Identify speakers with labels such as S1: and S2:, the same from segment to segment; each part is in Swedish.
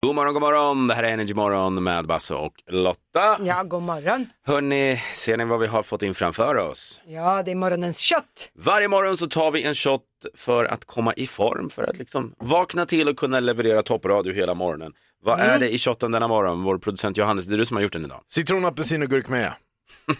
S1: God morgon, god morgon. Det här är Energy Morgon med Basse och Lotta.
S2: Ja, god morgon.
S1: Hörni, ser ni vad vi har fått in framför oss?
S2: Ja, det är morgonens kött.
S1: Varje morgon så tar vi en shot för att komma i form, för att liksom vakna till och kunna leverera toppradio hela morgonen. Vad är det i shotten denna morgon? Vår producent Johannes, det är du som har gjort den idag.
S3: Citron, apelsin och gurkmeja.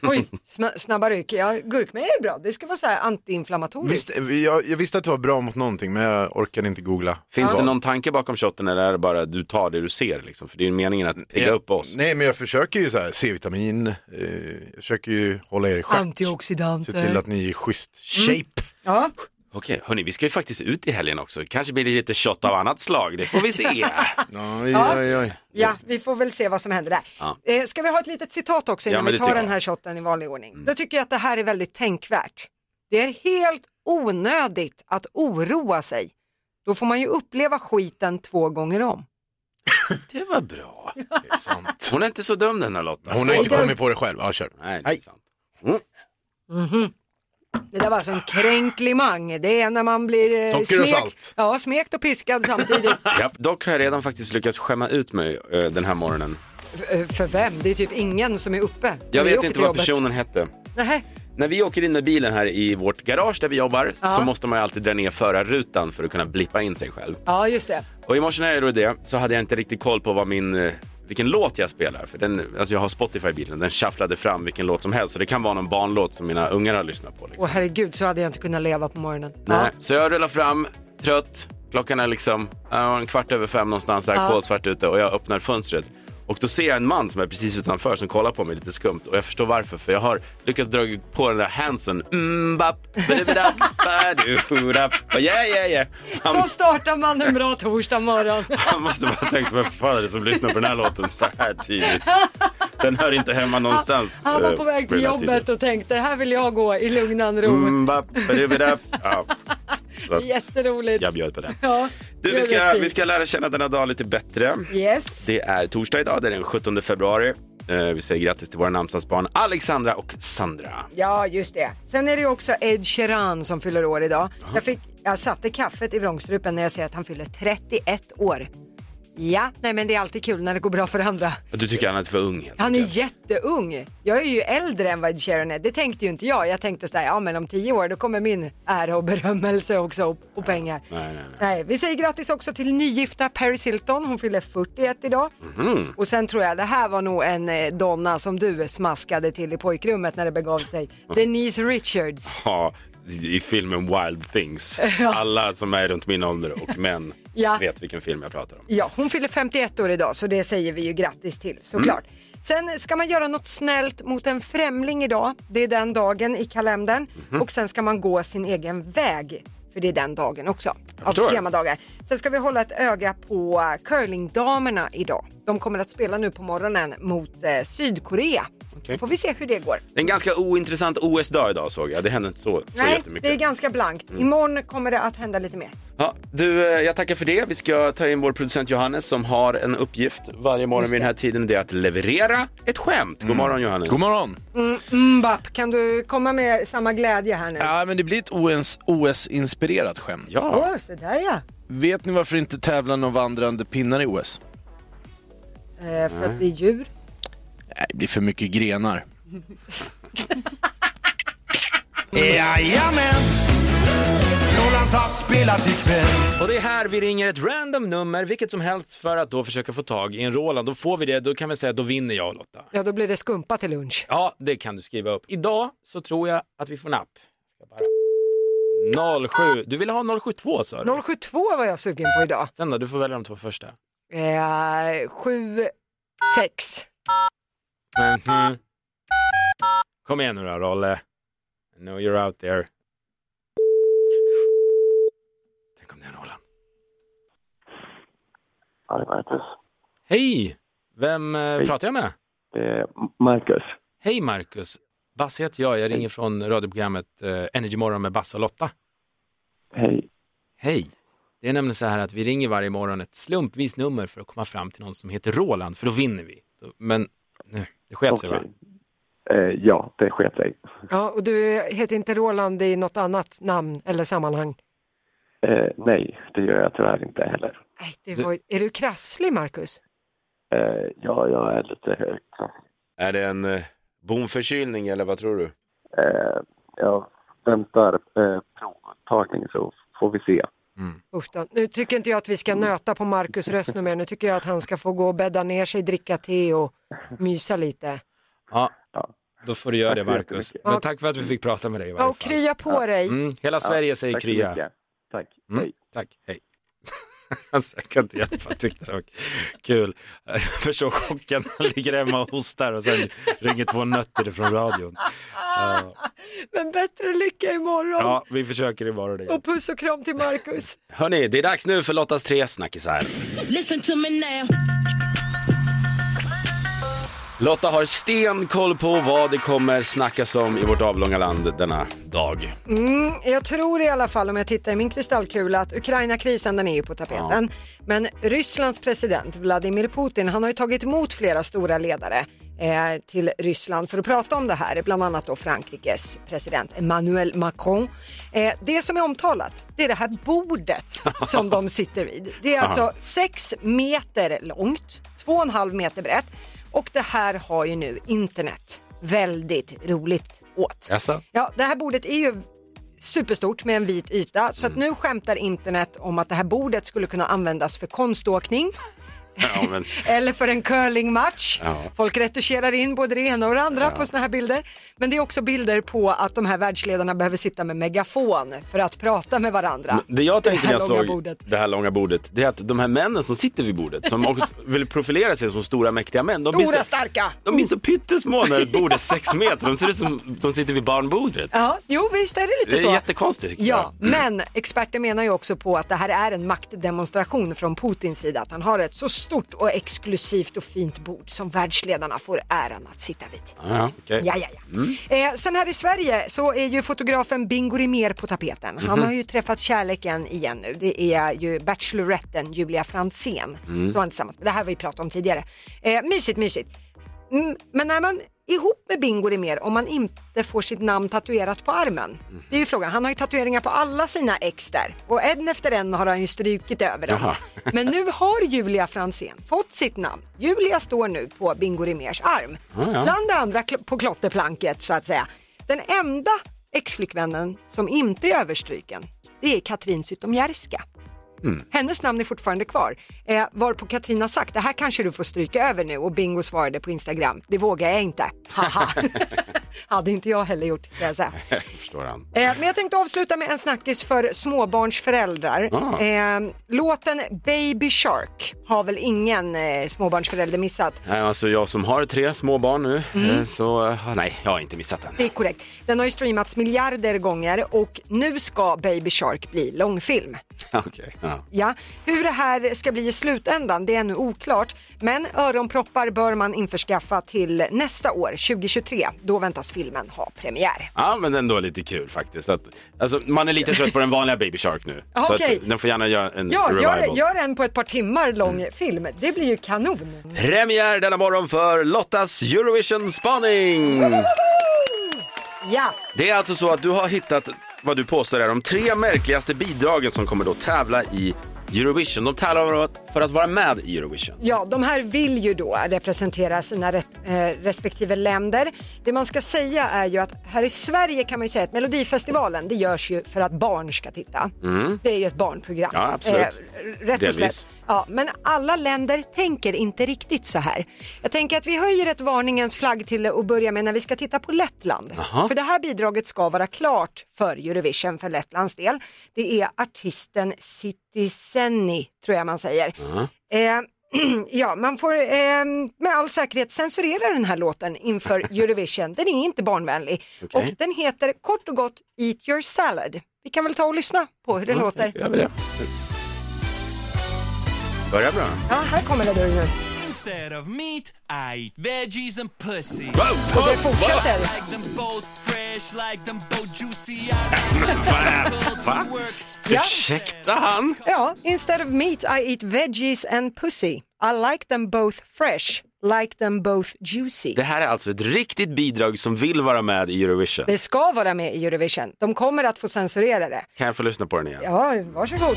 S2: Oj, sna- snabba ryck. Ja, gurkmeja är bra. Det ska vara så här antiinflammatoriskt.
S3: Visst, eh, jag, jag visste att det var bra mot någonting men jag orkade inte googla.
S1: Finns
S3: Vad.
S1: det någon tanke bakom shotten eller är det bara du tar det du ser liksom? För det är ju meningen att pigga
S3: Jag-
S1: upp oss.
S3: Nej men jag försöker ju så här, C-vitamin, eh, jag försöker ju hålla er i schack. Se till
S2: Antioxidanter. Mm.
S3: att ni är i schysst shape.
S2: Ja,
S1: Okej, hörni, vi ska ju faktiskt ut i helgen också. Kanske blir det lite shot av annat slag, det får vi se.
S3: Oj, oj, oj.
S2: ja, vi får väl se vad som händer där.
S1: Ja.
S2: Eh, Ska vi ha ett litet citat också
S1: Ja,
S2: innan
S1: men
S2: vi
S1: det
S2: tar
S1: tycker
S2: den
S1: jag.
S2: här shotten i vanlig ordning? Då tycker jag att det här är väldigt tänkvärt. Det är helt onödigt att oroa sig. Då får man ju uppleva skiten två gånger om.
S1: det var bra.
S3: Det är sant.
S1: Hon är inte så dum den här Lotta.
S3: Hon har inte
S1: Skål.
S3: kommit på det själv. Ja, kör.
S1: Nej, det är
S3: Hej.
S1: sant.
S2: Det där var alltså en kränklimang. Det är när man blir eh,
S3: Socker och salt.
S2: Ja, smekt och piskad samtidigt.
S1: Ja, dock har jag redan faktiskt lyckats skämma ut mig eh, den här morgonen.
S2: Eh, För vem? Det är typ ingen som är uppe.
S1: Jag
S2: Vi
S1: vet
S2: åker
S1: inte
S2: till
S1: vad
S2: jobbet.
S1: personen hette.
S2: Nähä.
S1: När vi åker in med bilen här i vårt garage där vi jobbar så
S2: Ja.
S1: måste man ju alltid dra ner förarrutan för att kunna blippa in sig själv.
S2: Ja, just det.
S1: Och i morse när jag gjorde det så hade jag inte riktigt koll på vad min, eh, vilken låt jag spelar. För den, alltså jag har Spotify i bilen, den shufflade fram vilken låt som helst. Så det kan vara någon barnlåt som mina ungar har lyssnat på. Liksom.
S2: Åh herregud, så hade jag inte kunnat leva på morgonen.
S1: Nej. Så jag rullar fram, trött. Klockan är liksom ja, en kvart över fem någonstans, där, kolsvart ute och jag öppnar fönstret. Och då ser jag en man som är precis utanför som kollar på mig lite skumt och jag förstår varför för jag har lyckats dra på den där handsen. Mm, bap, badubidap, badurap. yeah, yeah, yeah.
S2: Ja.
S1: Han,
S2: Så startar man en bra torsdag morgon.
S1: han måste bara ha tänkt, vad fan är det som lyssnar på den här låten så här tidigt? Den hör inte hemma någonstans.
S2: Han var
S1: eh,
S2: på väg till
S1: den här tiden.
S2: jobbet och tänkte, här vill jag gå i lugnan ro.
S1: Mm, bap, badubidap. Ja. Så att
S2: Jätteroligt.
S1: jag bjöd på den.
S2: Ja,
S1: Du, vi
S2: gör
S1: ska,
S2: rätt i.
S1: vi ska lära känna denna dag lite bättre.
S2: Yes.
S1: Det är torsdag idag, det är den 17 februari. Eh, vi säger grattis till våra namnsdagsbarn Alexandra och Sandra.
S2: Ja, just det. Sen är det ju också Ed Sheeran som fyller år idag. Jag, fick, jag satte kaffet i vrångstrupen när jag ser att han fyller 31 år. Ja, nej men det är alltid kul när det går bra för andra.
S1: Du tycker han är för ung helt
S2: Han är
S1: enkelt.
S2: jätteung. Jag är ju äldre än vad Ed Sheeran är. Det tänkte ju inte jag. Jag tänkte sådär, ja men om tio år då kommer min ära och berömmelse också och, och pengar.
S1: nej, nej,
S2: vi säger grattis också till nygifta Paris Hilton. Hon fyller 41 idag.
S1: Mhm.
S2: Och sen tror jag, det här var nog en eh, donna som du smaskade till i pojkrummet när det begav sig. Denise Richards.
S1: Ja, i i filmen Wild Things.
S2: Ja.
S1: Alla som är runt min ålder och män
S2: Ja.
S1: vet vilken film jag pratar om.
S2: Ja, hon fyller 51 år idag så det säger vi ju grattis till såklart.
S1: Mm.
S2: Sen ska man göra något snällt mot en främling idag. Det är den dagen i kalendern.
S1: Mhm.
S2: Och sen ska man gå sin egen väg. För det är den dagen också. Av
S1: förstår.
S2: temadagar. Sen ska vi hålla ett öga på eh, curlingdamerna idag. De kommer att spela nu på morgonen mot eh, Sydkorea. Får vi se hur det går.
S1: Det är en ganska ointressant OS-dag idag såg jag. Det hände inte så, så
S2: Nej,
S1: jättemycket. Mm.
S2: det är ganska blankt. Imorgon kommer det att hända lite mer.
S1: Ja, du, eh, jag tackar för det. Vi ska ta in vår producent Johannes som har en uppgift varje morgon vid den här tiden. Det är att leverera ett skämt. God morgon Johannes.
S3: God morgon.
S2: Mbapp, kan du komma med samma glädje här nu?
S4: Ja, men det blir ett OS OS-inspirerat skämt.
S1: Ja.
S2: Åh, så där ja.
S4: Vet ni varför inte tävlan om vandrande pinnar i OS?
S2: Eh, för att vi är djur.
S4: Nej, det blir för mycket grenar.
S1: Och det är här vi ringer ett random nummer, vilket som helst, för att då försöka få tag i en Roland. Då får vi det, då kan vi säga att då vinner jag Lotta.
S2: Ja, då blir det skumpa till lunch.
S1: Ja, det kan du skriva upp. Idag så tror jag att vi får napp. Jag Ska bara... 07, du ville ha 072 sa du?
S2: 072 var jag sugen på idag.
S1: Sen då, du får välja de två första.
S2: Eh, 7, 6.
S1: Mhm. Kom igen nu då Rolle. I know you're out there. Tänk om det är en Roland.
S5: Ja, det var Marcus.
S1: Hej! Vem eh, pratar jag med?
S5: Det är Eh, Marcus.
S1: Hej Marcus! Basse heter jag, jag ringer från radioprogrammet eh, Energy Morgon med Basse och Lotta.
S5: Hej.
S1: Hej. Det är nämligen så här att vi ringer varje morgon ett slumpvis nummer för att komma fram till någon som heter Roland, för då vinner vi. Men nu, det sket sig va?
S5: Okej. Eh, ja, det sket sig.
S2: Ja, och du heter inte Roland i något annat namn eller sammanhang?
S5: Eh, nej, det gör jag tyvärr inte heller.
S2: Nej, det var... Är du krasslig, Marcus?
S5: Eh, ja, jag är lite hög.
S1: Är det en eh, bonförkylning eller vad tror du?
S5: Eh, jag väntar eh, provtagning så får vi se.
S2: Usch då. Nu tycker inte jag att vi ska nöta på Marcus röst nu mer. Nu tycker jag att han ska få gå och bädda ner sig, dricka te och mysa lite.
S1: Ja,
S5: Ja.
S1: då får du göra
S5: Tack
S1: det
S5: så
S1: Marcus.
S5: jättemycket.
S1: Men tack för att vi fick prata med dig i
S2: Ja,
S1: varje
S2: och
S1: fall.
S2: krya på dig.
S1: Mm, hela Sverige säger
S5: Tack så
S1: krya.
S5: mycket. Tack.
S1: Mm.
S5: Hej.
S1: Tack, hej. Alltså, jag kan inte hjälpa att tyckte det var kul. Jag förstår chocken, han ligger hemma och hostar och sen ringer två nötter från radion.
S2: Men bättre lycka imorgon.
S1: Ja, vi försöker imorgon igen.
S2: Och puss och kram till Marcus.
S1: Hörni, det är dags nu för Lottas tre snackisar.
S6: Listen to me now.
S1: Lotta har stenkoll på vad det kommer snackas om i vårt avlånga land denna dag.
S2: Jag tror i alla fall om jag tittar i min kristallkula att Ukraina-krisen den är ju på tapeten. Men Rysslands president Vladimir Putin han har ju tagit emot flera stora ledare eh, till Ryssland för att prata om det här, bland annat då Frankrikes president Emmanuel Macron. Eh, det som är omtalat, det är det här bordet som de sitter vid. Det är alltså sex meter långt, två och en halv meter brett och det här har ju nu internet väldigt roligt åt.
S1: Jaså?
S2: Ja, det här bordet är ju superstort med en vit yta så att
S1: Mm.
S2: nu skämtar internet om att det här bordet skulle kunna användas för konståkning
S1: Ja, men
S2: eller för en curlingmatch.
S1: Ja.
S2: Folk retuscherar in både det ena och det andra på såna här bilder. Men det är också bilder på att de här världsledarna behöver sitta med megafon för att prata med varandra.
S1: det jag tänkte när jag
S2: långa
S1: såg
S2: bordet.
S1: det här långa bordet, det är att de här männen som sitter vid bordet, som också vill profilera sig som stora mäktiga män, de blir
S2: Stora
S1: så,
S2: starka!
S1: de blir så pyttesmå när ett bord är sex meter. De ser ut som de sitter vid barnbordet.
S2: Ja, jo visst är det lite
S1: Det
S2: så.
S1: är jättekonstigt tycker
S2: Ja,
S1: jag.
S2: men experter menar ju också på att det här är en maktdemonstration från Putins sida, att han har ett så stort och exklusivt och fint bord som världsledarna får äran att sitta vid.
S1: Ja, ja, okej.
S2: Ja, ja, ja. Eh, sen här i Sverige så är ju fotografen Bingo Rimér på tapeten. Han har ju träffat kärleken igen nu. Det är ju Bacheloretten Julia Franzén som han tillsammans med. Det här har vi pratat om tidigare. Eh, mysigt, mysigt. Mm, men när man ihop med Bingo mer om man inte får sitt namn tatuerat på armen. Det är ju frågan. Han har ju tatueringar på alla sina ex där och en efter en har han ju strukit över dem.
S1: Jaha.
S2: Men nu har Julia Fransén fått sitt namn. Julia står nu på Bingo Rimérs arm.
S1: Ah, ja.
S2: Bland det andra kl- på klotterplanket så att säga. Den enda exflickvännen som inte är överstruken det är Katrin Zytomierska.
S1: Mm.
S2: Hennes namn är fortfarande kvar. Eh, varpå Katrin har sagt, det här kanske du får stryka över nu och Bingo svarade på Instagram, det vågar jag inte. Haha. Hade inte jag heller gjort, kan jag säga.
S1: Jag förstår han.
S2: Eh, men jag tänkte avsluta med en snackis för småbarnsföräldrar.
S1: Ah.
S2: Eh, låten Baby Shark har väl ingen eh, småbarnsförälder missat?
S1: Nej, Alltså jag som har tre små barn nu,
S2: Mm.
S1: eh, så eh, nej, jag har inte missat den.
S2: Det är korrekt. Den har ju streamats miljarder gånger och nu ska Baby Shark bli långfilm.
S1: Okej, ja.
S2: Ja, hur det här ska bli i slutändan det är ännu oklart. Men öronproppar bör man införskaffa till nästa år, 2023. Då väntas filmen ha premiär.
S1: Ja men ändå lite kul faktiskt. Att, alltså, man är lite trött på den vanliga Baby Shark nu.
S2: Ja,
S1: så
S2: okej.
S1: att, den får gärna göra en
S2: Ja,
S1: revival. Mm.
S2: gör, gör en på ett par timmar lång film. Det blir ju kanon.
S1: Premiär denna morgon för Lottas Eurovision-spaning!
S2: Ja,
S1: Det är alltså så att du har hittat vad du påstår är de tre märkligaste bidragen som kommer då tävla i Eurovision. De tävlar för att- för att vara med i Eurovision.
S2: ja, de här vill ju då representera sina rep- eh, respektive länder. Det man ska säga är ju att här i Sverige kan man ju säga att Melodifestivalen det görs ju för att barn ska titta. Det är ju ett barnprogram.
S1: Mm.
S2: Eh,
S1: Ja, absolut.
S2: rätt och
S1: Delvis.
S2: slätt. Ja, men alla länder tänker inte riktigt så här. Jag tänker att vi höjer ett varningens flagg till att börja med när vi ska titta på Lettland. För det här bidraget ska vara klart för Eurovision för Lettlands del. Det är artisten Sitisenni, tror jag man säger. Eh, Ja, man får eh, med all säkerhet censurera den här låten inför Eurovision. Den är inte barnvänlig
S1: Okej.
S2: och den heter kort och gott Eat your salad. Vi kan väl ta och lyssna på hur den
S1: Mm,
S2: låter.
S1: Gör vi det. Börjar bra.
S2: Ja, här kommer det nu.
S7: Instead of meat, I eat veggies and pussy.
S1: Wow,
S2: Det
S1: oh
S2: fortsätter.
S7: Like them both fresh, like them both juicy. I
S1: wow. Va?
S7: work
S2: Ja.
S1: Ursäkta han?
S2: Ja, instead of meat I eat veggies and pussy. I like them both fresh, like them both juicy.
S1: Det här är alltså ett riktigt bidrag som vill vara med i Eurovision.
S2: Det ska vara med i Eurovision. De kommer att få censurera det.
S1: Kan jag få lyssna på den igen?
S2: Ja, varsågod.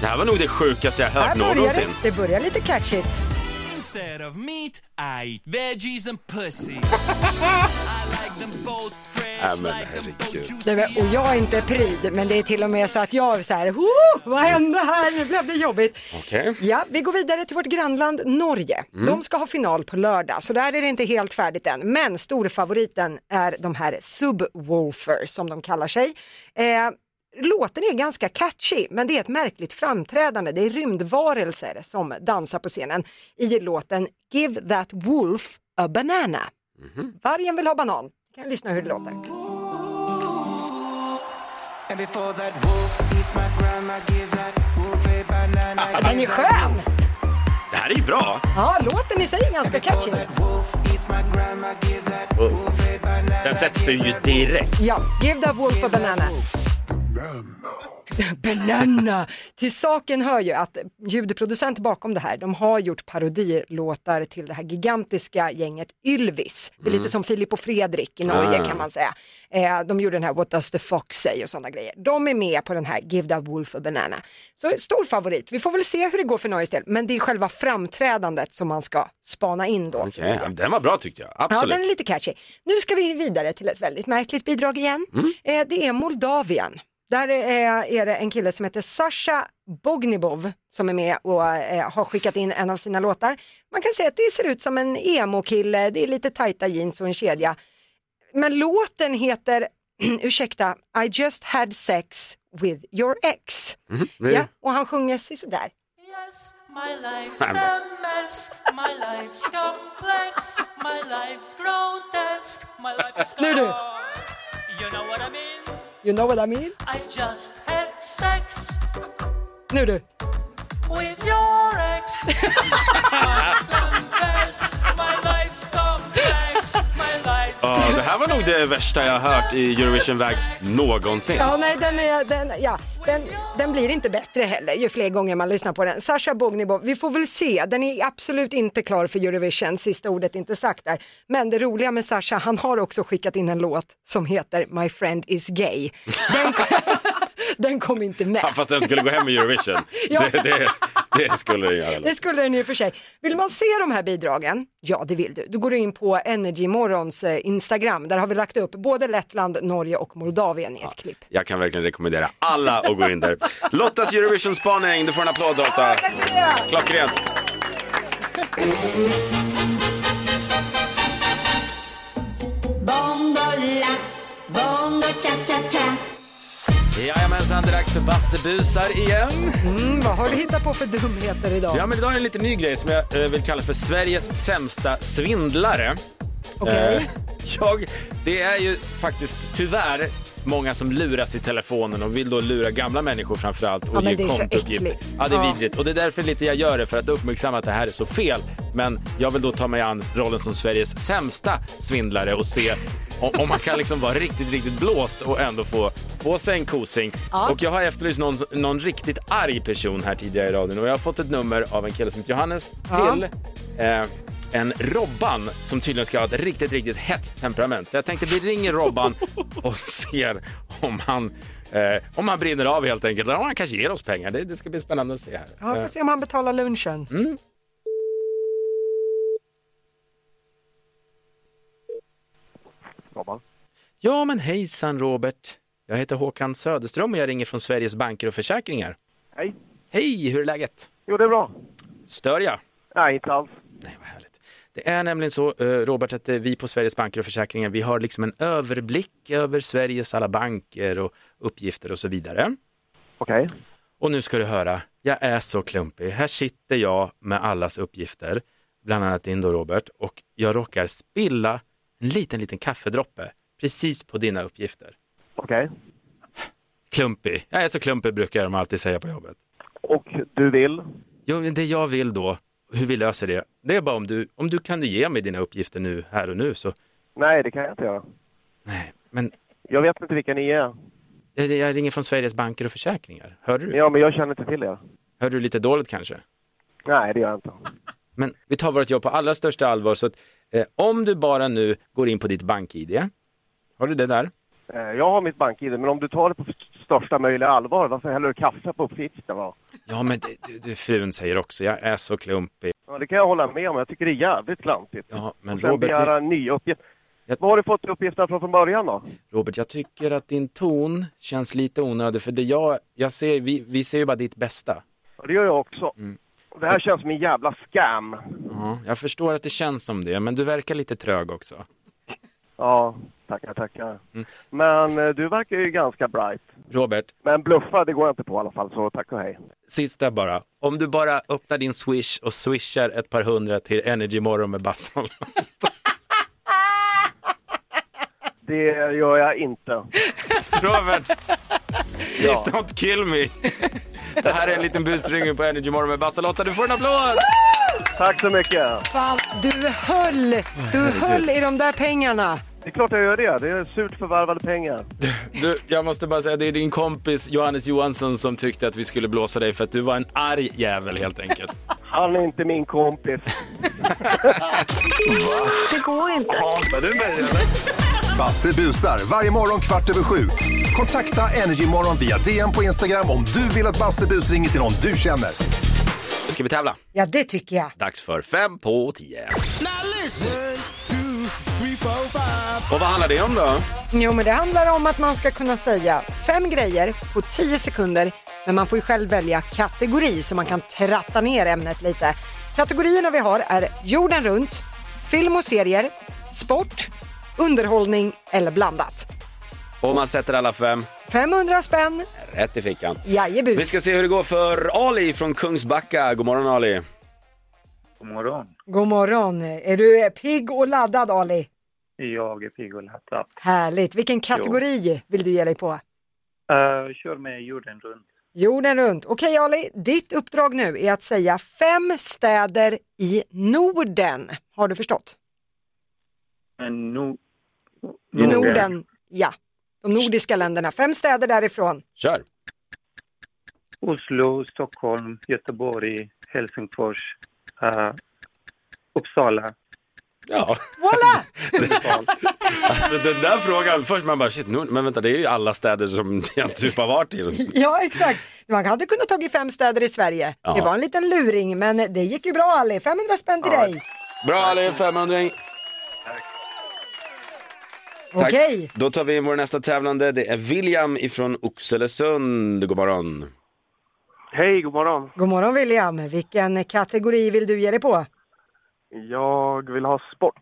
S1: Det här var nog det sjukaste jag hört
S2: Här börjar det.
S1: någonsin.
S2: Det börjar lite catchigt.
S7: Instead of meat, I eat veggies and pussy. I like them both
S1: Ja,
S7: fresh,
S1: Äh, men
S7: like them both
S1: herregud.
S2: Det
S7: juicy.
S2: var, och jag är inte pryd, men det är till och med så att jag är så här, "Ho, vad hände här? Nu blev det jobbigt.
S1: Okej.
S2: Ja, vi går vidare till vårt grannland Norge. De ska ha final på lördag, så där är det inte helt färdigt än. Men storfavoriten är de här Subwoolfers som de kallar sig. Eh, Låten är ganska catchy, men det är ett märkligt framträdande. Det är rymdvarelser som dansar på scenen i låten Give That Wolf a Banana. Vargen vill ha banan. Kan lyssna hur det låter.
S6: And before that wolf eats my grandma, give that wolf a banana.
S2: Ja, Den är skön!
S1: Det här är ju bra.
S2: Ja, låten i sig är ganska catchy.
S6: Wolf eats my grandma, give that wolf a banana.
S1: Den sätter sig ju direkt.
S2: Ja, Give the Wolf a Banana. Banana! Till saken hör ju att ljudproducent bakom det här, de har gjort parodilåtar till det här gigantiska gänget Ylvis. Det är lite som Filip och Fredrik i Norge kan man säga. Eh, de gjorde den här What does the fox say och sådana grejer. De är med på den här Give the Wolf a Banana. Så stor favorit. Vi får väl se hur det går för Norges del, men det är själva framträdandet som man ska spana in då.
S1: Okej, ja, Den var bra tyckte jag.
S2: Ja, den är
S1: Absolut.
S2: lite catchy. Nu ska vi vidare till ett väldigt märkligt bidrag igen.
S1: Mm.
S2: Eh, det är Moldavien. Där eh, är det en kille som heter Sasha Bognibov som är med och eh, har skickat in en av sina låtar. Man kan säga att det ser ut som en emo-kille, det är lite tajta jeans och en kedja. Men låten heter, ursäkta, I just had sex with your ex.
S1: Mhm. det-
S2: Ja, och han sjunger sig sådär.
S6: Yes, my life's a mess. My life's complex. My life's grotesque. My life is
S2: Nu du.
S6: You know what I mean?
S2: You know what I mean?
S6: I just had sex
S2: Nu du.
S6: with your ex. Must confess, my life's complex. My life's
S1: Ja, det här var nog det värsta jag har hört i Eurovision-väg någonsin.
S2: Ja, nej, den, är, den, ja, den, den blir inte bättre heller ju fler gånger man lyssnar på den. Sasha Bognibov, vi får väl se. Den är absolut inte klar för Eurovision, sista ordet är inte sagt där. Men det roliga med Sasha, han har också skickat in en låt som heter My friend is gay. Den, den kom inte med.
S1: Ja, Fast den skulle gå hem i Eurovision.
S2: Ja.
S1: det, det, det skulle den göra.
S2: Det skulle den i och för sig. Vill man se de här bidragen? Ja, det vill du. Då går du in på Energy Morgons eh, Instagram. Där har vi lagt upp både Lettland, Norge och Moldavien i ett klipp.
S1: Jag kan verkligen rekommendera alla att gå in där. Lottas Eurovision-spaning, du får en applåd Lotta. Klockrent.
S6: Bondola, bondo cha cha cha.
S1: Jajamensan, det är dags för Bassebusar igen.
S2: Mm, vad har du hittat på för dumheter idag?
S1: Ja, men idag är en lite ny grej som jag eh, vill kalla för Sveriges sämsta svindlare.
S2: Okej.
S1: Eh, Jag, det är ju faktiskt tyvärr många som luras i telefonen och vill då lura gamla människor framför allt och
S2: Ja, men
S1: ge
S2: det är så
S1: kontouppgifter.
S2: äckligt.
S1: Ja, det är
S2: Ja.
S1: vidrigt och det är därför lite jag gör det för att uppmärksamma att det här är så fel. Men jag vill då ta mig an rollen som Sveriges sämsta svindlare och se om, om man kan liksom vara riktigt, riktigt blåst och ändå få, få sig en kosing. Och jag har efterlyst någon, någon riktigt arg person här tidigare i radion och jag har fått ett nummer av en kille som heter Johannes
S2: Ja.
S1: till eh, en Robban som tydligen ska ha ett riktigt, riktigt hett temperament. Så jag tänkte vi ringer Robban och ser om han, eh, om han brinner av helt enkelt. Eller om han kanske ger oss pengar. Det, det ska bli spännande att se här.
S2: Ja, får se om han betalar lunchen.
S1: Mm. Ja men hejsan Robert. Jag heter Håkan Söderström och jag ringer från Sveriges banker och försäkringar.
S5: Hej.
S1: Hej, hur är läget?
S5: Jo, det är bra.
S1: Stör jag?
S5: Nej, inte alls.
S1: Nej, vad härligt. Det är nämligen så, eh, Robert, att eh, vi på Sveriges banker och försäkringar, vi har liksom en överblick över Sveriges alla banker och uppgifter och så vidare.
S5: Okej.
S1: Och nu ska du höra, jag är så klumpig. Här sitter jag med allas uppgifter, bland annat din då Robert, och jag råkar spilla en liten, liten kaffedroppe precis på dina uppgifter.
S5: Okej.
S1: Klumpig. Jag är så klumpig brukar de alltid säga på jobbet.
S5: Och du vill?
S1: Jo, men det jag vill då, hur vi löser det, det är bara om du, om du kan ge mig dina uppgifter nu, här och nu så,
S5: Nej, det kan jag inte göra.
S1: nej, men
S5: Jag vet inte vilka ni är.
S1: Jag, jag ringer från Sveriges banker och försäkringar. Hörde du?
S5: Ja, men jag känner inte till er.
S1: Hörde du lite dåligt kanske?
S5: Nej, det gör jag inte.
S1: Men vi tar vårt jobb på allra största allvar. Så att, eh, om du bara nu går in på ditt bank-id. Har du det där?
S5: Eh, Jag har mitt bank-id, men om du tar det på st- största möjliga allvar, varför häller du kaffe på uppsitsen? Va?
S1: Ja, men det, du, du, frun säger också, jag är så klumpig.
S5: Ja, det kan jag hålla med om. Jag tycker det är jävligt klantigt.
S1: Ja, men
S5: och sen
S1: Robert,
S5: begära nya uppgifter.
S1: Jag-
S5: Var har du fått uppgifterna från från början då?
S1: Robert, jag tycker att din ton känns lite onödig, för det jag, jag ser, vi, vi ser ju bara ditt bästa.
S5: Ja, Det gör jag också.
S1: Mm.
S5: Det här känns som en jävla scam.
S1: Ja, jag förstår att det känns som det, men du verkar lite trög också.
S5: Ja, tackar, tackar.
S1: Mm.
S5: Men eh, du verkar ju ganska bright.
S1: Robert,
S5: Men bluffa, det går jag inte på i alla fall, så tack och hej.
S1: sista bara. Om du bara öppnar din swish och swishar ett par hundra till Energy Morgon med Bassan.
S5: Det gör jag inte.
S1: Robert, please don't kill me. Det här är en liten busringning på Energy Morgon med Bassan-Lotta. Du får en applåd!
S5: Tack så mycket.
S2: Fan, du höll! Du höll i de där pengarna.
S5: Det är klart jag gör det. Det är surt förvärvade pengar.
S1: Du, jag måste bara säga, det är din kompis Johannes Johansson som tyckte att vi skulle blåsa dig för att du var en arg jävel helt enkelt.
S5: Han är inte min kompis.
S8: Basse busar varje morgon kvart över sju. Kontakta Energymorgon via DM på Instagram om du vill att Basse bus ringer till någon du känner.
S1: Nu ska vi tävla.
S2: Ja, det tycker jag.
S1: Dags för fem på tio.
S7: Now listen.
S1: Och vad handlar det om då?
S2: Jo, men det handlar om att man ska kunna säga fem grejer på tio sekunder, men man får ju själv välja kategori så man kan tratta ner ämnet lite. Kategorierna vi har är jorden runt, film och serier, sport, underhållning eller blandat.
S1: Och man sätter alla fem
S2: 500 spänn,
S1: rätt i fickan. Vi
S2: jajebus.
S1: ska se hur det går för Ali från Kungsbacka. God morgon Ali.
S5: God morgon.
S2: God morgon. Är du pigg och laddad Ali?
S5: Jag är pigg och lättad.
S2: Härligt. Vilken kategori vill du ge dig på?
S5: Uh, kör med jorden runt.
S2: Jorden runt. Okej Ali, ditt uppdrag nu är att säga fem städer i Norden. Har du förstått?
S5: Men nu...
S1: Mm.
S2: Norden, ja. De nordiska länderna, fem städer därifrån.
S1: Kör.
S5: Oslo, Stockholm, Göteborg, Helsingfors, uh, Uppsala.
S1: Ja,
S2: Voilà!
S1: alltså den där frågan. Först man bara shit, nu, men vänta det är ju alla städer som jag typ har varit i.
S2: Ja, exakt. Man hade kunnat tagit fem städer i Sverige.
S1: Ja.
S2: Det var en liten luring, men det gick ju bra Ali. 500 spänn till dig.
S1: Bra Ali, 500 Tack.
S2: Okej.
S1: Då tar vi in vår nästa tävlande. Det är William ifrån Oxelösund. God morgon.
S5: Hej, god morgon.
S2: God morgon William. Vilken kategori vill du ge dig på?
S5: Jag vill ha sport.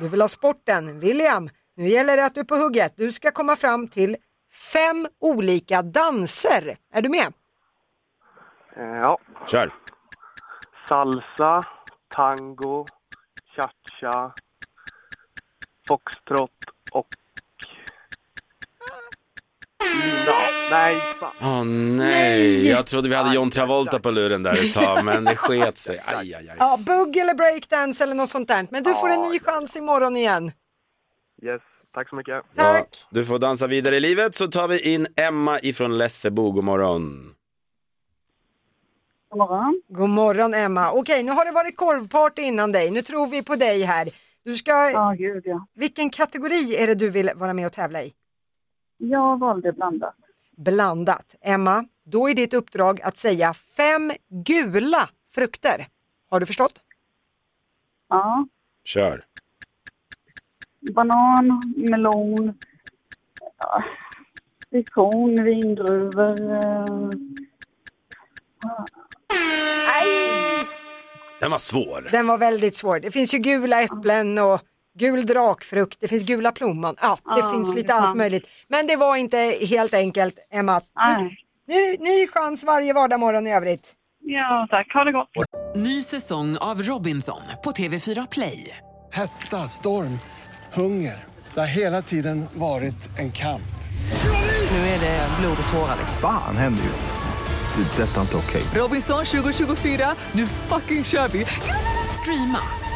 S2: Du vill ha sporten. William, nu gäller det att du är på hugget. Du ska komma fram till fem olika danser. Är du med?
S5: Eh, ja.
S1: Kör.
S5: Salsa, tango, cha-cha, foxtrot och... Nej, nej fan.
S1: Åh nej, jag trodde vi hade John Travolta på luren där ett tag, men det sket sig. Aj, aj, aj.
S2: Ja, bugg eller breakdance eller något sånt där. Men du får en ny chans imorgon igen.
S5: Yes, tack så mycket.
S2: Tack!
S1: Du får dansa vidare i livet, så tar vi in Emma ifrån Lessebo. God morgon.
S2: God morgon Emma. Okej, nu har det varit korvparty innan dig. Nu tror vi på dig här. Du ska... Ja, gud ja. Vilken kategori är det du vill vara med och tävla i?
S5: Jag valde blandat.
S2: Blandat. Emma, då är ditt uppdrag att säga fem gula frukter. Har du förstått?
S5: Ja,
S1: Kör.
S5: banan, melon, ja, citron, vindruvor. eh,
S1: Den var svår.
S2: Den var väldigt svår. Det finns ju gula äpplen och gul drakfrukt, det finns gula plommon. Ja, det
S5: Ah,
S2: finns lite
S5: det
S2: allt
S5: fanns.
S2: möjligt. Men det var inte helt enkelt, Emma.
S5: Nej.
S2: Nu, ny chans varje vardagsmorgon i övrigt.
S5: Ja, tack. Ha det gott.
S9: Ny säsong av Robinson på TV4 Play.
S10: Hetta, storm, hunger. Det har hela tiden varit en kamp.
S9: Nu är det blod och tårar.
S11: Fan händer just nu. Det. är Detta är inte okej.
S9: Robinson 2024, nu fucking kör vi! Streama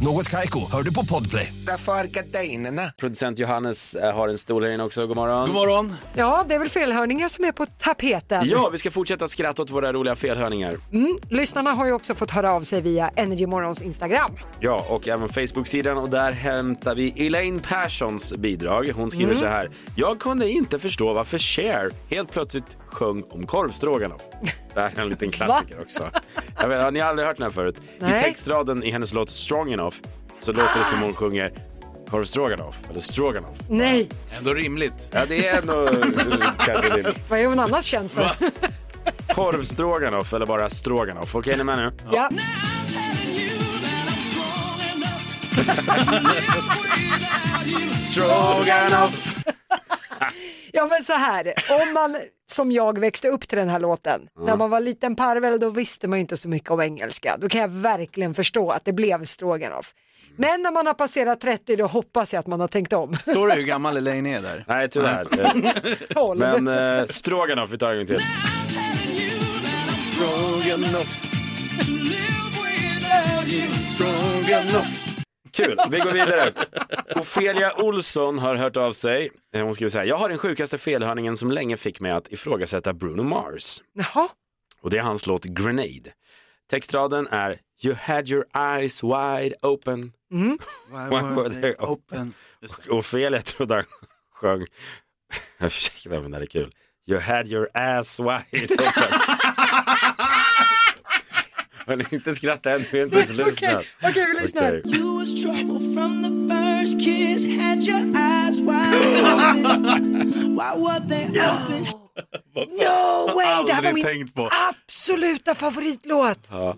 S12: Något Kaiko, hör du på podplay.
S13: Därför är gardinerna.
S1: Producent Johannes eh, har en stol här inne också. God morgon.
S4: God morgon.
S2: Ja, det är väl felhörningar som är på tapeten.
S1: Ja, vi ska fortsätta skratta åt våra roliga felhörningar.
S2: Mm, lyssnarna har ju också fått höra av sig via Energy Morgons Instagram.
S1: Ja, och även Facebook-sidan och där hämtar vi Elaine Perssons bidrag. Hon skriver
S2: Mm.
S1: så här. Jag kunde inte förstå varför Cher helt plötsligt sjöng om korvstroganoff. Det här är en liten klassiker också. Jag vet, har ni aldrig hört den här förut?
S2: Nej.
S1: I textraden i hennes låt Strong Enough så låter det som hon sjunger korvstroganoff eller stroganoff.
S2: Nej,
S1: Ändå rimligt. Ja, det är ändå eh, kanske rimligt.
S2: vad är hon annars känd för?
S1: Korvstroganoff eller bara stroganoff. Okej, är ni med nu?
S2: Ja.
S1: Stroganoff!
S2: Ja men så här, om man som jag växte upp till den här låten, när man var liten parvel då visste man ju inte så mycket om engelska, då kan jag verkligen förstå att det blev stroganoff. Men när man har passerat 30 då hoppas jag att man har tänkt om.
S4: Står det hur gammal Elaine är där?
S1: Nej, tyvärr.
S2: Mm.
S1: Eh,
S2: 12.
S1: Men eh, stroganoff, vi tar en gång till. Kul, vi går vidare. Ofelia Olsson har hört av sig. Eh, Hon skriver så här, jag har den sjukaste felhörningen som länge fick mig att ifrågasätta Bruno Mars.
S2: Jaha.
S1: Och det är hans låt Grenade. Textraden är You had your eyes wide open.
S2: Mm.
S1: Why were they open? Och Ofelia trodde han sjöng, ursäkta men det här är kul, You had your ass wide open. Har ni inte skrattat än, vi har inte ens lyssnat.
S2: Okej, vi lyssnar.
S1: Okej.
S6: You was trouble from the first kiss, had your eyes wide open. Why were they open?
S2: No way, det här var
S4: Aldrig
S2: min
S4: tänkt på.
S2: absoluta favoritlåt.
S1: Ja.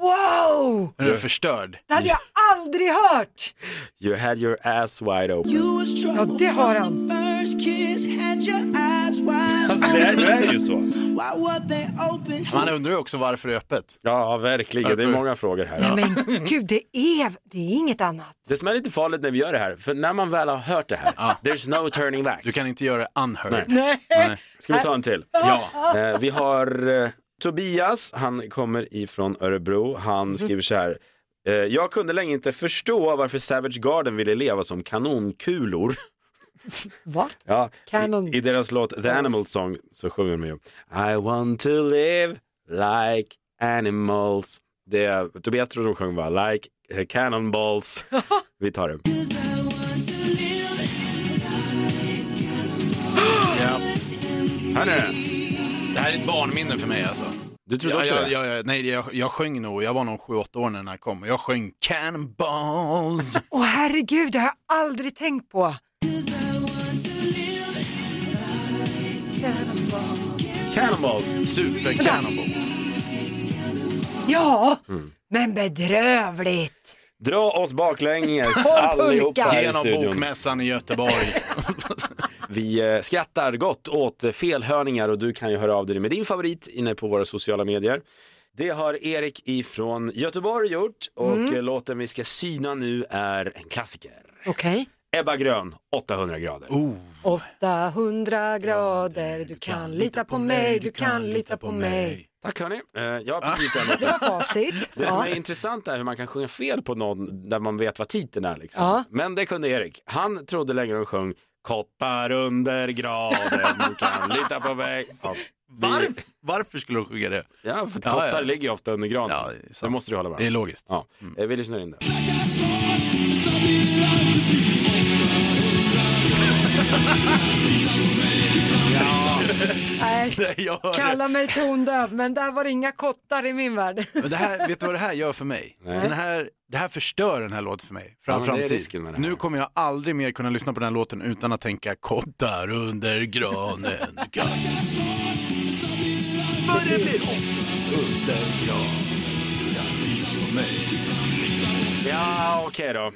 S2: Wow!
S4: Är du förstörd?
S2: Det hade jag aldrig hört.
S1: You had your ass wide open.
S6: You was
S2: Ja,
S6: trouble
S2: det har han.
S6: from the first kiss, had your eyes wide
S1: Alltså det är, det är
S6: open.
S1: ju så.
S6: Why were they open?
S4: Man undrar ju också varför det är öppet.
S1: Ja, verkligen. Det är många frågor här.
S2: Nej, men gud, det är, det är inget annat.
S1: Det som är lite farligt när vi gör det här, för när man väl har hört det här, there's no turning back. Du
S4: kan inte göra det unheard.
S2: Nej.
S1: Ska vi ta en till?
S4: Ja.
S1: Eh, vi har eh, Tobias, han kommer ifrån Örebro. Han skriver så här. Eh, jag kunde länge inte förstå varför Savage Garden ville leva som kanonkulor.
S2: Va?
S1: Ja, i, I deras låt The Animal Song så sjunger de ju I want to live like animals. Det, Tobias tror de sjöng va? Like eh, cannonballs. Vi tar det. Här är den.
S4: Det här är ett barnminne för mig alltså.
S1: Du trodde också
S4: jag,
S1: det?
S4: Jag, jag, nej, jag, jag sjöng nog, jag var nog 7-8 år när den här kom. Jag sjöng Cannonballs.
S2: Åh herregud, det har jag aldrig tänkt på.
S1: Cannonballs.
S4: Super Cannonballs.
S2: Ja, men bedrövligt.
S1: Dra oss baklänges
S2: Håll pulka.
S1: allihopa här i
S4: Genom
S1: studion.
S4: bokmässan i Göteborg.
S1: Vi eh, skrattar gott åt eh, felhörningar och du kan ju höra av dig med din favorit inne på våra sociala medier. Det har Erik ifrån Göteborg gjort och
S2: Mm.
S1: eh, låten vi ska syna nu är en klassiker.
S2: Okej.
S1: Ebba Grön, 800 grader.
S2: Oh. 800 grader, du kan lita på mig, du kan lita på mig.
S1: Tack hörni. Eh, Jag har precis
S2: Det var facit.
S1: Det som är
S2: Ah. Ja.
S1: intressant är hur man kan sjunga fel på någon där man vet vad titeln är. Liksom.
S2: Ja.
S1: Men det kunde Erik. Han trodde länge de sjöng Koppar under graden, du kan lita på mig. Ja, vi-
S4: Varför skulle de sjunga det?
S1: Ja, för att
S4: Ja,
S1: kottar
S4: ja.
S1: ligger ju ofta under granen. det måste du hålla med om.
S4: Det är logiskt.
S1: Ja. Eh, Vi lyssnar in det.
S2: Nej,
S4: jag hör
S2: Kalla mig tondöv, men där var det inga kottar i min värld.
S4: Men det här, vet du vad det här gör för mig?
S2: Nej.
S4: Den här, det här förstör den här låten för mig. För
S1: Ja,
S4: all
S1: men det är
S4: framtid.
S1: risken med det här.
S4: Nu kommer jag aldrig mer kunna lyssna på den här låten utan att tänka kottar under granen. kan- För det blir åtta under granen. kan lita på mig.
S1: Ja, okej då.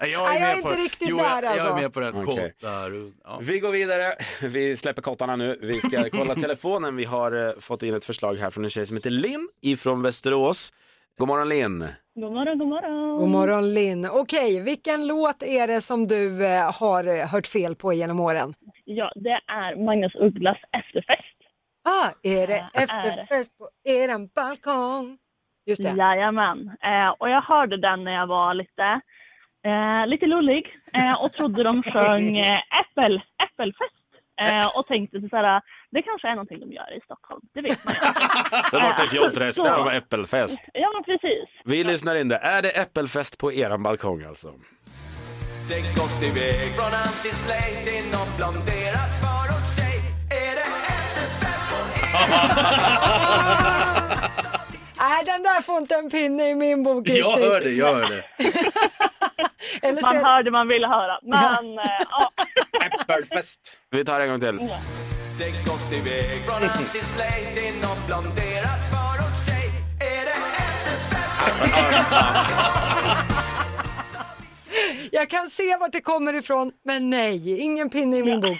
S2: Nej, jag är inte riktigt
S3: jo,
S2: där
S3: jag, jag
S2: alltså.
S3: är med på den.
S1: Okej.
S3: Kottarund. Ja.
S1: Vi går vidare. Vi släpper kottarna nu. Vi ska kolla telefonen. Vi har eh, fått in ett förslag här från en tjej som heter Linn ifrån Västerås. God morgon Linn.
S2: God morgon, god morgon. God morgon Linn. Okej, vilken låt är det som du eh, har eh, hört fel på genom åren?
S14: Ja, det är Magnus Ugglas efterfest.
S2: Ah, är det
S14: Ja,
S2: efterfest på eran balkong? Just det.
S14: Jajamän. Eh, och jag hörde den när jag var lite, eh, lite lullig eh, och trodde de sjöng eh, äppel, äppelfest. Eh, och tänkte så här, det kanske är någonting de gör i Stockholm. Det vet man ju.
S1: Det har varit en fjolträsk, det har varit äppelfest.
S14: Ja, men precis.
S1: Vi lyssnar in det. Är det äppelfest på eran balkong alltså?
S7: Det gått iväg från hans display till någon blonderad far och tjej. Är det efterfest på
S2: Nej, Äh, den där får inte en pinne i min bok.
S3: Jag
S2: riktigt.
S3: hör det, jag hör det.
S2: Eller
S14: Man
S2: så-
S14: hör det man ville höra. Men eh, ja,
S1: Vi tar det en gång till.
S7: Det gått iväg från hans display till någon blonderad far och tjej. Är det
S2: Jag kan se vart det kommer ifrån, men nej, ingen pinne i min bok.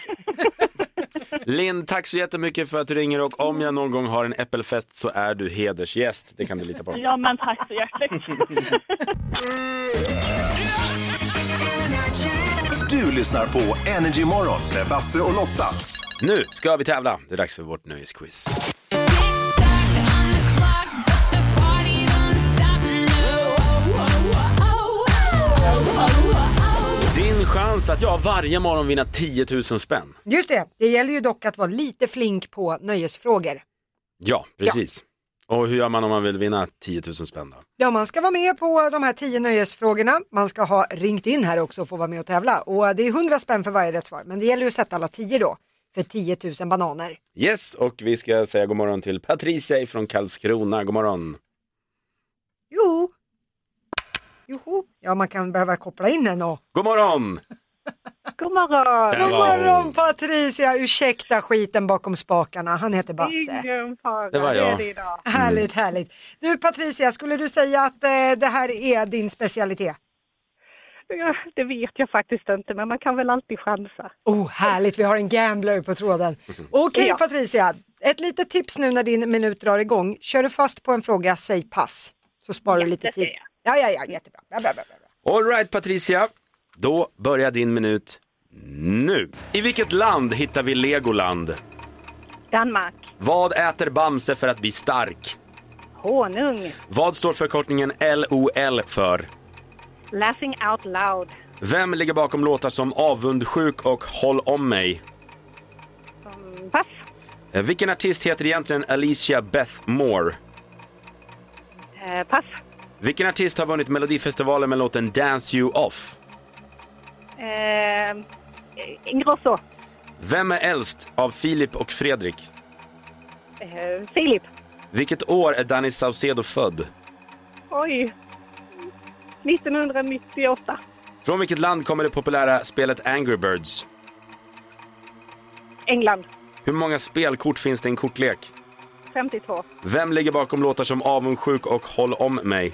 S1: Linn, tack så jättemycket för att du ringer och om jag någon gång har en äppelfest så är du hedersgäst. Det kan du lita på.
S14: ja, men tack så hjärtligt.
S8: Du lyssnar på Energy Morgon med Basse och Lotta.
S1: Nu ska vi tävla. Det är dags för vårt nöjesquiz. Din chans att jag varje morgon vinna 10 000 spänn.
S2: Just det, det gäller ju dock att vara lite flink på nöjesfrågor.
S1: Ja, precis. Och hur gör man om man vill vinna 10 000 spänn då?
S2: Ja, man ska vara med på de här tio nöjesfrågorna. Man ska ha ringt in här också och få vara med och tävla. Och det är 100 spänn för varje rätt svar, men det gäller ju att sätta alla tio då, för 10 000 bananer.
S1: Yes, och vi ska säga god morgon till Patricia från Karlskrona. God morgon.
S2: Jo. Joho. Ja, man kan behöva koppla in en och...
S1: God morgon!
S2: God
S14: morgon!
S1: Där
S2: God
S1: var hon.
S2: morgon Patricia! Ursäkta skiten bakom spakarna, han heter Basse.
S14: Ingen fara.
S1: Det var jag.
S14: Det är det idag.
S2: Härligt, härligt. Du Patricia, skulle du säga att eh, det här är din specialitet?
S14: Ja, Det vet jag faktiskt inte, men man kan väl alltid chansa.
S2: Oh, härligt, vi har en gambler på tråden. Okej
S14: Ja.
S2: Patricia, ett litet tips nu när din minut drar igång. Kör du fast på en fråga, säg pass. Så sparar du lite tid. Ja, ja, ja, jättebra. Bra, bra, bra, bra.
S1: All right Patricia, då börjar din minut nu. I vilket land hittar vi Legoland?
S14: Danmark.
S1: Vad äter Bamse för att bli stark?
S14: Honung.
S1: Vad står förkortningen LOL för?
S14: Laughing out loud.
S1: Vem ligger bakom låtar som Avundsjuk och Håll om mig?
S14: Mm, Pass.
S1: Eh, Vilken artist heter egentligen Alicia Beth Moore?
S14: Eh, pass.
S1: Vilken artist har vunnit Melodifestivalen med låten Dance You Off?
S14: Eh, Ingrosso.
S1: Vem är äldst av Filip och Fredrik?
S14: Eh, Filip.
S1: Vilket år är Danny Saucedo född?
S14: Oj. 1998.
S1: Från vilket land kommer det populära spelet Angry Birds?
S14: England.
S1: Hur många spelkort finns det i en kortlek?
S14: 52.
S1: Vem ligger bakom låtar som Avundsjuk och Håll om mig?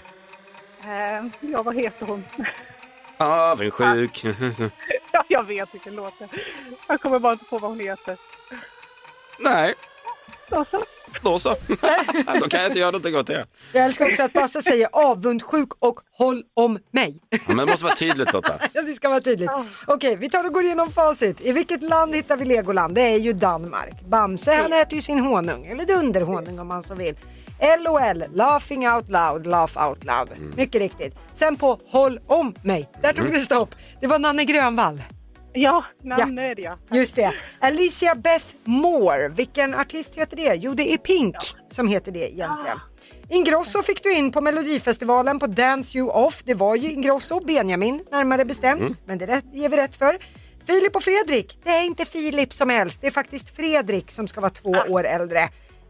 S14: Eh, ja, vad heter hon?
S1: Avundsjuk.
S14: Ja, jag vet vilken låt det är. Jag kommer bara inte på vad hon heter.
S1: Nej,
S14: Då så.
S1: då så. då kan jag inte göra någonting åt det.
S2: Jag älskar också att Basse säger avundsjuk och håll om mig.
S1: Ja, men det måste vara tydligt Lotta.
S2: Ja, det ska vara tydligt. Okej, vi tar och går igenom facit. I vilket land hittar vi Legoland? Det är ju Danmark. Bamse, han äter ju sin honung, eller dunderhonung om man så vill. LOL, laughing out loud, laugh out loud. Mycket riktigt. Sen på Håll om mig, där tog det stopp. Det var Nanne Grönvall.
S14: Ja, namn är det ja.
S2: Just det. Alicia Beth Moore, vilken artist heter det? Jo, det är Pink som heter det egentligen. Ingrosso fick du in på Melodifestivalen på Dance You Off. Det var ju Ingrosso, Benjamin närmare bestämt,
S15: Mm.
S2: men det rätt- ger vi rätt för. Filip och Fredrik, det är inte Filip som är äldst, det är faktiskt Fredrik som ska vara två år äldre.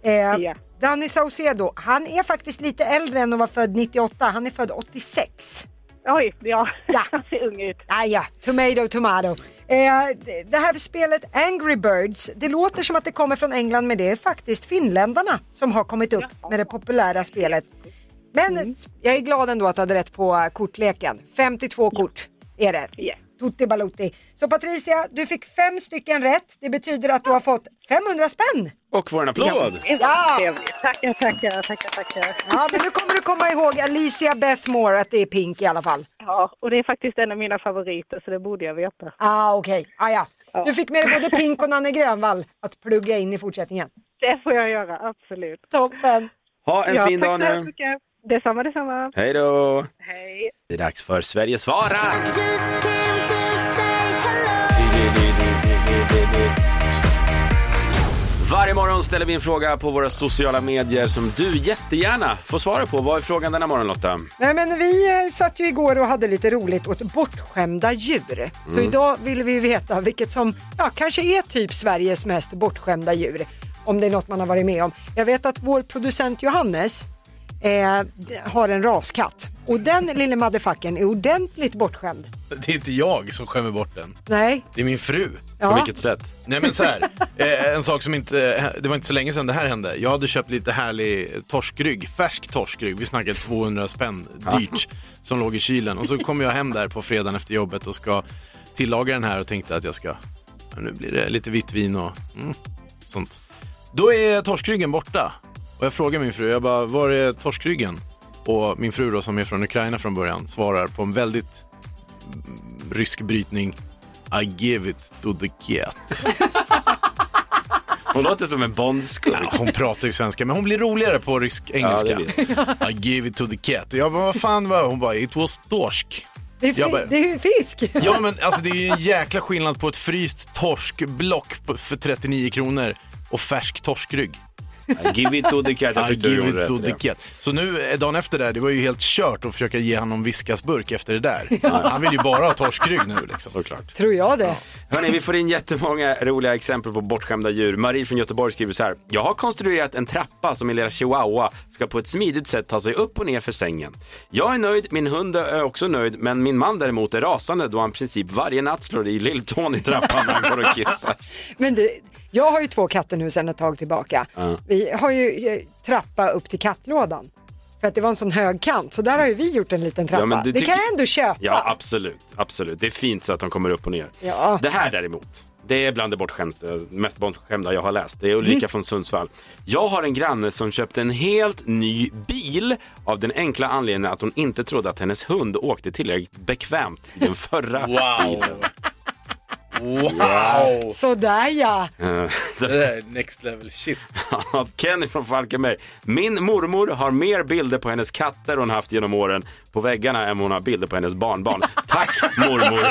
S2: Eh, Danny Saucedo, han är faktiskt lite äldre än att vara född 98, han är född 86.
S14: Oj, ja.
S2: Ja.
S14: Han ser ung ut.
S2: Ah, ja, tomato, tomato. Eh, d- det här spelet Angry Birds, det låter som att det kommer från England men det är faktiskt finländarna som har kommit upp med det populära spelet. Men jag är glad ändå att du hade rätt på eh, kortleken. 52 kort är det. Tutti balutti. Så Patricia, du fick fem stycken rätt. Det betyder att du har fått 500 spänn.
S1: Och får en applåd!
S2: Ja.
S14: Tackar, tackar, tackar, tackar.
S2: Ja, men nu kommer du komma ihåg Alicia Beth Moore, att det är pink i alla fall.
S14: Ja, och det är faktiskt en av mina favoriter så det borde jag veta.
S2: Ah, okej. Ah, ja. Du fick med dig både Pink och Nanne Grönvall att plugga in i fortsättningen.
S14: Det får jag göra, absolut.
S2: Toppen!
S1: Ha en
S14: ja,
S1: fin
S14: tack
S1: dag
S14: så hemskt
S1: nu.
S14: mycket. Detsamma, detsamma.
S1: Hej då!
S14: Hej.
S1: Det är dags för Sverige svarar! Varje morgon ställer vi en fråga på våra sociala medier som du jättegärna får svara på. Vad är frågan denna morgon Lotta?
S2: Nej, men vi eh, satt ju igår och hade lite roligt åt bortskämda djur. Så
S1: Mm.
S2: idag vill vi veta vilket som ja, kanske är typ Sveriges mest bortskämda djur. Om det är något man har varit med om. Jag vet att vår producent Johannes eh, d- har en raskatt. Och den lille motherfuckern är ordentligt bortskämd.
S4: Det är inte jag som skämmer bort den.
S2: Nej,
S4: Det är min fru.
S2: Ja. På vilket
S1: sätt?
S4: Nej men så här, eh, en sak som inte, eh, det var inte så länge sedan det här hände. Jag hade köpt lite härlig torskrygg, färsk torskrygg, vi snackar 200 spänn dyrt, som låg i kylen. Och så kom jag hem där på fredagen efter jobbet och ska tillaga den här och tänkte att jag ska, ja, nu blir det lite vitt vin och mm, sånt. Då är torskryggen borta. Och jag frågar min fru, jag bara, var är torskryggen? Och min fru då som är från Ukraina från början svarar på en väldigt mm, rysk brytning. I give it to the cat.
S1: Hon låter som en bondskurk.
S4: Ja, hon pratar ju svenska, men hon blir roligare på rysk
S1: Ja,
S4: engelska.
S1: det
S4: I give it to the cat. Och jag bara, vad fan var Hon bara, it was torsk.
S2: det är,
S4: Jag
S2: fi-
S4: bara-
S2: det är fisk.
S4: Ja men alltså det är ju en jäkla skillnad på ett fryst torskblock på- för 39 kronor och färsk torskrygg.
S1: I give it to the cat. Jag
S4: I
S1: tyckte du
S4: give
S1: gjorde
S4: it to
S1: rätt,
S4: the
S1: ja.
S4: cat. Så nu eh, dagen efter där, det var ju helt kört att försöka ge honom viskasburk efter det där. Han vill ju bara ha torskrygg nu liksom.
S1: Såklart.
S2: Tror jag det.
S1: Hörrni, vi får in jättemånga roliga exempel på bortskämda djur. Marie från Göteborg skriver så här. Jag har konstruerat en trappa som min lilla chihuahua ska på ett smidigt sätt ta sig upp och ner för sängen. Jag är nöjd, min hund är också nöjd, men min man däremot är rasande då han i princip varje natt slår i lilltån i trappan när han går och kissar.
S2: Men du, jag har ju två katter nu sedan ett tag tillbaka.
S1: Ja.
S2: Vi har ju eh, trappa upp till kattlådan. För att det var en sån hög kant, så där har ju vi gjort en liten trappa.
S1: Ja, men
S2: det
S1: det
S2: kan
S1: tycker-
S2: jag ändå köpa.
S1: Ja, absolut. absolut. Det är fint så att de kommer upp och ner.
S2: Ja.
S1: Det här däremot, det är bland det bortskämda, mest bortskämda jag har läst. Det är Ulrika
S2: Mm.
S1: från Sundsvall. Jag har en granne som köpte en helt ny bil av den enkla anledningen att hon inte trodde att hennes hund åkte tillräckligt bekvämt i den förra bilen. Wow.
S2: Sådär ja.
S1: Eh,
S4: Det där är next level shit.
S1: av Kenny från Falkenberg. Min mormor har mer bilder på hennes katter hon haft genom åren på väggarna än hon har bilder på hennes barnbarn. Tack mormor!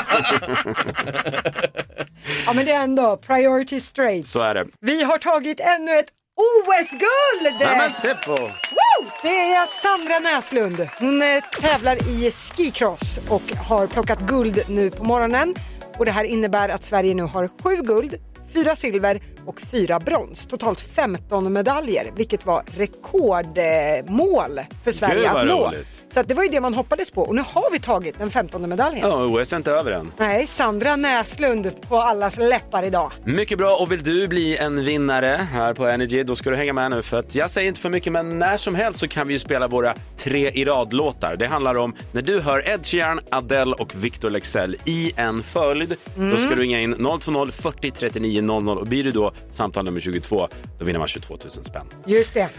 S2: ja, men det är ändå priority straight.
S1: Så är det.
S2: Vi har tagit ännu ett OS-guld!
S1: Nej, men se på!
S2: Woo! Det är Sandra Näslund. Hon eh, tävlar i skicross och har plockat guld nu på morgonen. Och det här innebär att Sverige nu har sju guld, fyra silver och fyra brons. Totalt 15 medaljer, vilket var rekordmål för Sverige
S1: Gud, vad
S2: att nå.
S1: roligt.
S2: Så att det var ju det man hoppades på och nu har vi tagit den 15 medaljen.
S1: Ja, OS är inte över än.
S2: Nej, Sandra Näslund på allas läppar idag.
S1: Mycket bra och vill du bli en vinnare här på Energy då ska du hänga med nu för att jag säger inte för mycket men när som helst så kan vi ju spela våra tre i rad-låtar. Det handlar om när du hör Ed Sheeran, Adele och Victor Lexell i en följd. Då ska du ringa in 020 40 39 00 och blir du då samtal nummer 22 då vinner man 22 000 spänn.
S2: Just det.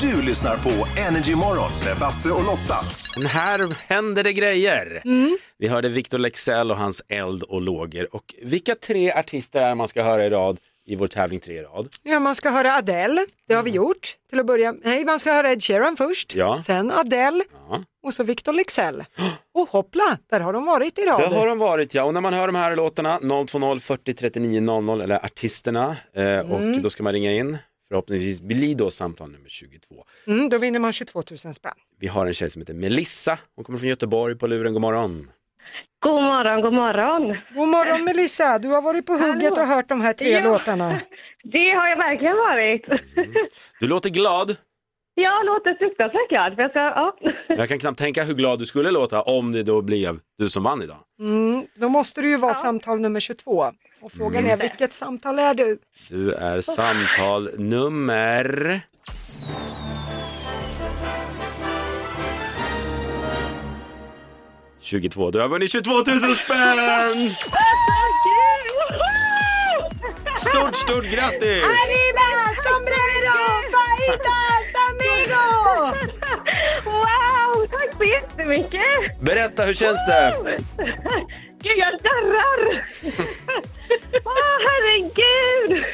S8: Du lyssnar på Energy Morgon med Basse och Lotta.
S1: Men här händer det grejer. Vi hörde Victor Lexell och hans eld och lågor. Och vilka tre artister är det man ska höra i rad i vår tävling tre i rad?
S2: Ja, man ska höra Adele, det har vi gjort till att börja Nej, man ska höra Ed Sheeran först,
S1: Mm. Ja.
S2: sen Adele
S1: Ja.
S2: och så Victor Lexell. Och hoppla, där har de varit i rad.
S1: Det har de varit ja, och när man hör de här låtarna 020 40 39 00 eller artisterna eh, och då ska man ringa in. Förhoppningsvis blir då samtal nummer 22.
S2: Mm, då vinner man 22 000 spänn.
S1: Vi har en tjej som heter Melissa, hon kommer från Göteborg på luren, god morgon.
S15: God morgon, god morgon.
S2: God morgon Melissa, du har varit på hugget och hört de här tre
S15: Ja.
S2: låtarna.
S15: Det har jag verkligen varit.
S1: Du låter glad,
S15: Jag låter fruktansvärt glad. För jag, ska, ja.
S1: jag kan knappt tänka hur glad du skulle låta om det då blev du som vann idag.
S2: Mm, då måste du ju vara samtal nummer 22. Och frågan
S1: Mm.
S2: är, vilket samtal är du?
S1: Du är samtal nummer 22. Du har vunnit 22 000 spänn! Stort, stort grattis!
S2: Arriba, sombrero, fajitas, amigo!
S14: Wow, tack så jättemycket!
S1: Berätta, hur känns det?
S14: Gud, jag darrar! Åh, herregud!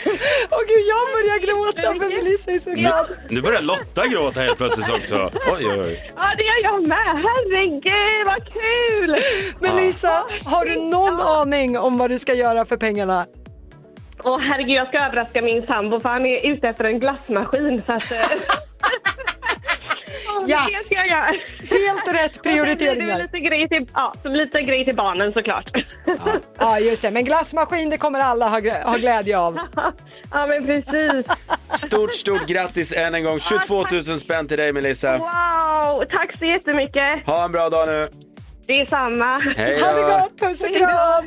S2: Åh gud, jag börjar gråta för Melissa är så
S1: Nu,
S2: glad.
S1: nu börjar Lotta gråta helt plötsligt också. Oj, oj, oj.
S14: Ja, det gör jag med. Herregud, vad kul!
S2: Melissa, har du någon aning om vad du ska göra för pengarna?
S14: Åh, herregud, jag ska överraska min sambo för han är ute efter en glassmaskin. Så att, eh. Åh,
S2: Ja.
S14: Det ska jag göra.
S2: Helt rätt prioriteringar.
S14: Lite grej till, ja, som lite grej till barnen såklart.
S2: Ja, just det. Men glassmaskin, det kommer alla ha, gr- ha glädje av.
S14: ja, men precis.
S1: Stort, stort grattis än en gång. 22 000 spänn till dig Melissa.
S14: Wow, tack så jättemycket.
S1: Ha en bra dag nu.
S14: Det är samma.
S1: Hej då. Ha det gott,
S2: puss och kram.